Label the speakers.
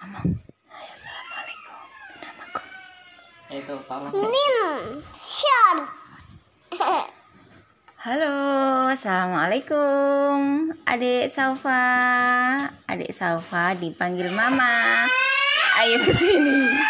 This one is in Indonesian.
Speaker 1: ngomong Hai, assalamualaikum namaku
Speaker 2: itu tolong
Speaker 3: Nim, sure.
Speaker 1: halo assalamualaikum adik Saufa adik Saufa dipanggil mama ayo kesini